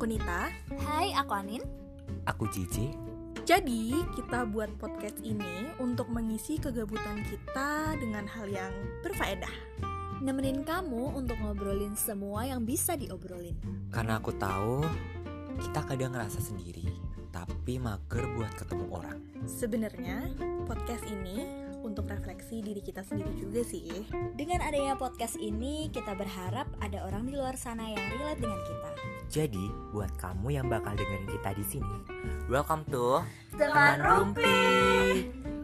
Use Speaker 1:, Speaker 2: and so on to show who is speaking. Speaker 1: Nita.
Speaker 2: Hai, aku Anin.
Speaker 3: Aku Cici.
Speaker 1: Jadi, kita buat podcast ini untuk mengisi kegabutan kita dengan hal yang berfaedah.
Speaker 2: Nemenin kamu untuk ngobrolin semua yang bisa diobrolin.
Speaker 3: Karena aku tahu kita kadang ngerasa sendiri, tapi mager buat ketemu orang.
Speaker 1: Sebenarnya, podcast ini untuk refleksi diri kita sendiri juga sih.
Speaker 2: Dengan adanya podcast ini, kita berharap ada orang di luar sana yang relate dengan kita.
Speaker 3: Jadi, buat kamu yang bakal dengerin kita di sini, welcome to
Speaker 2: Teman Rumpi.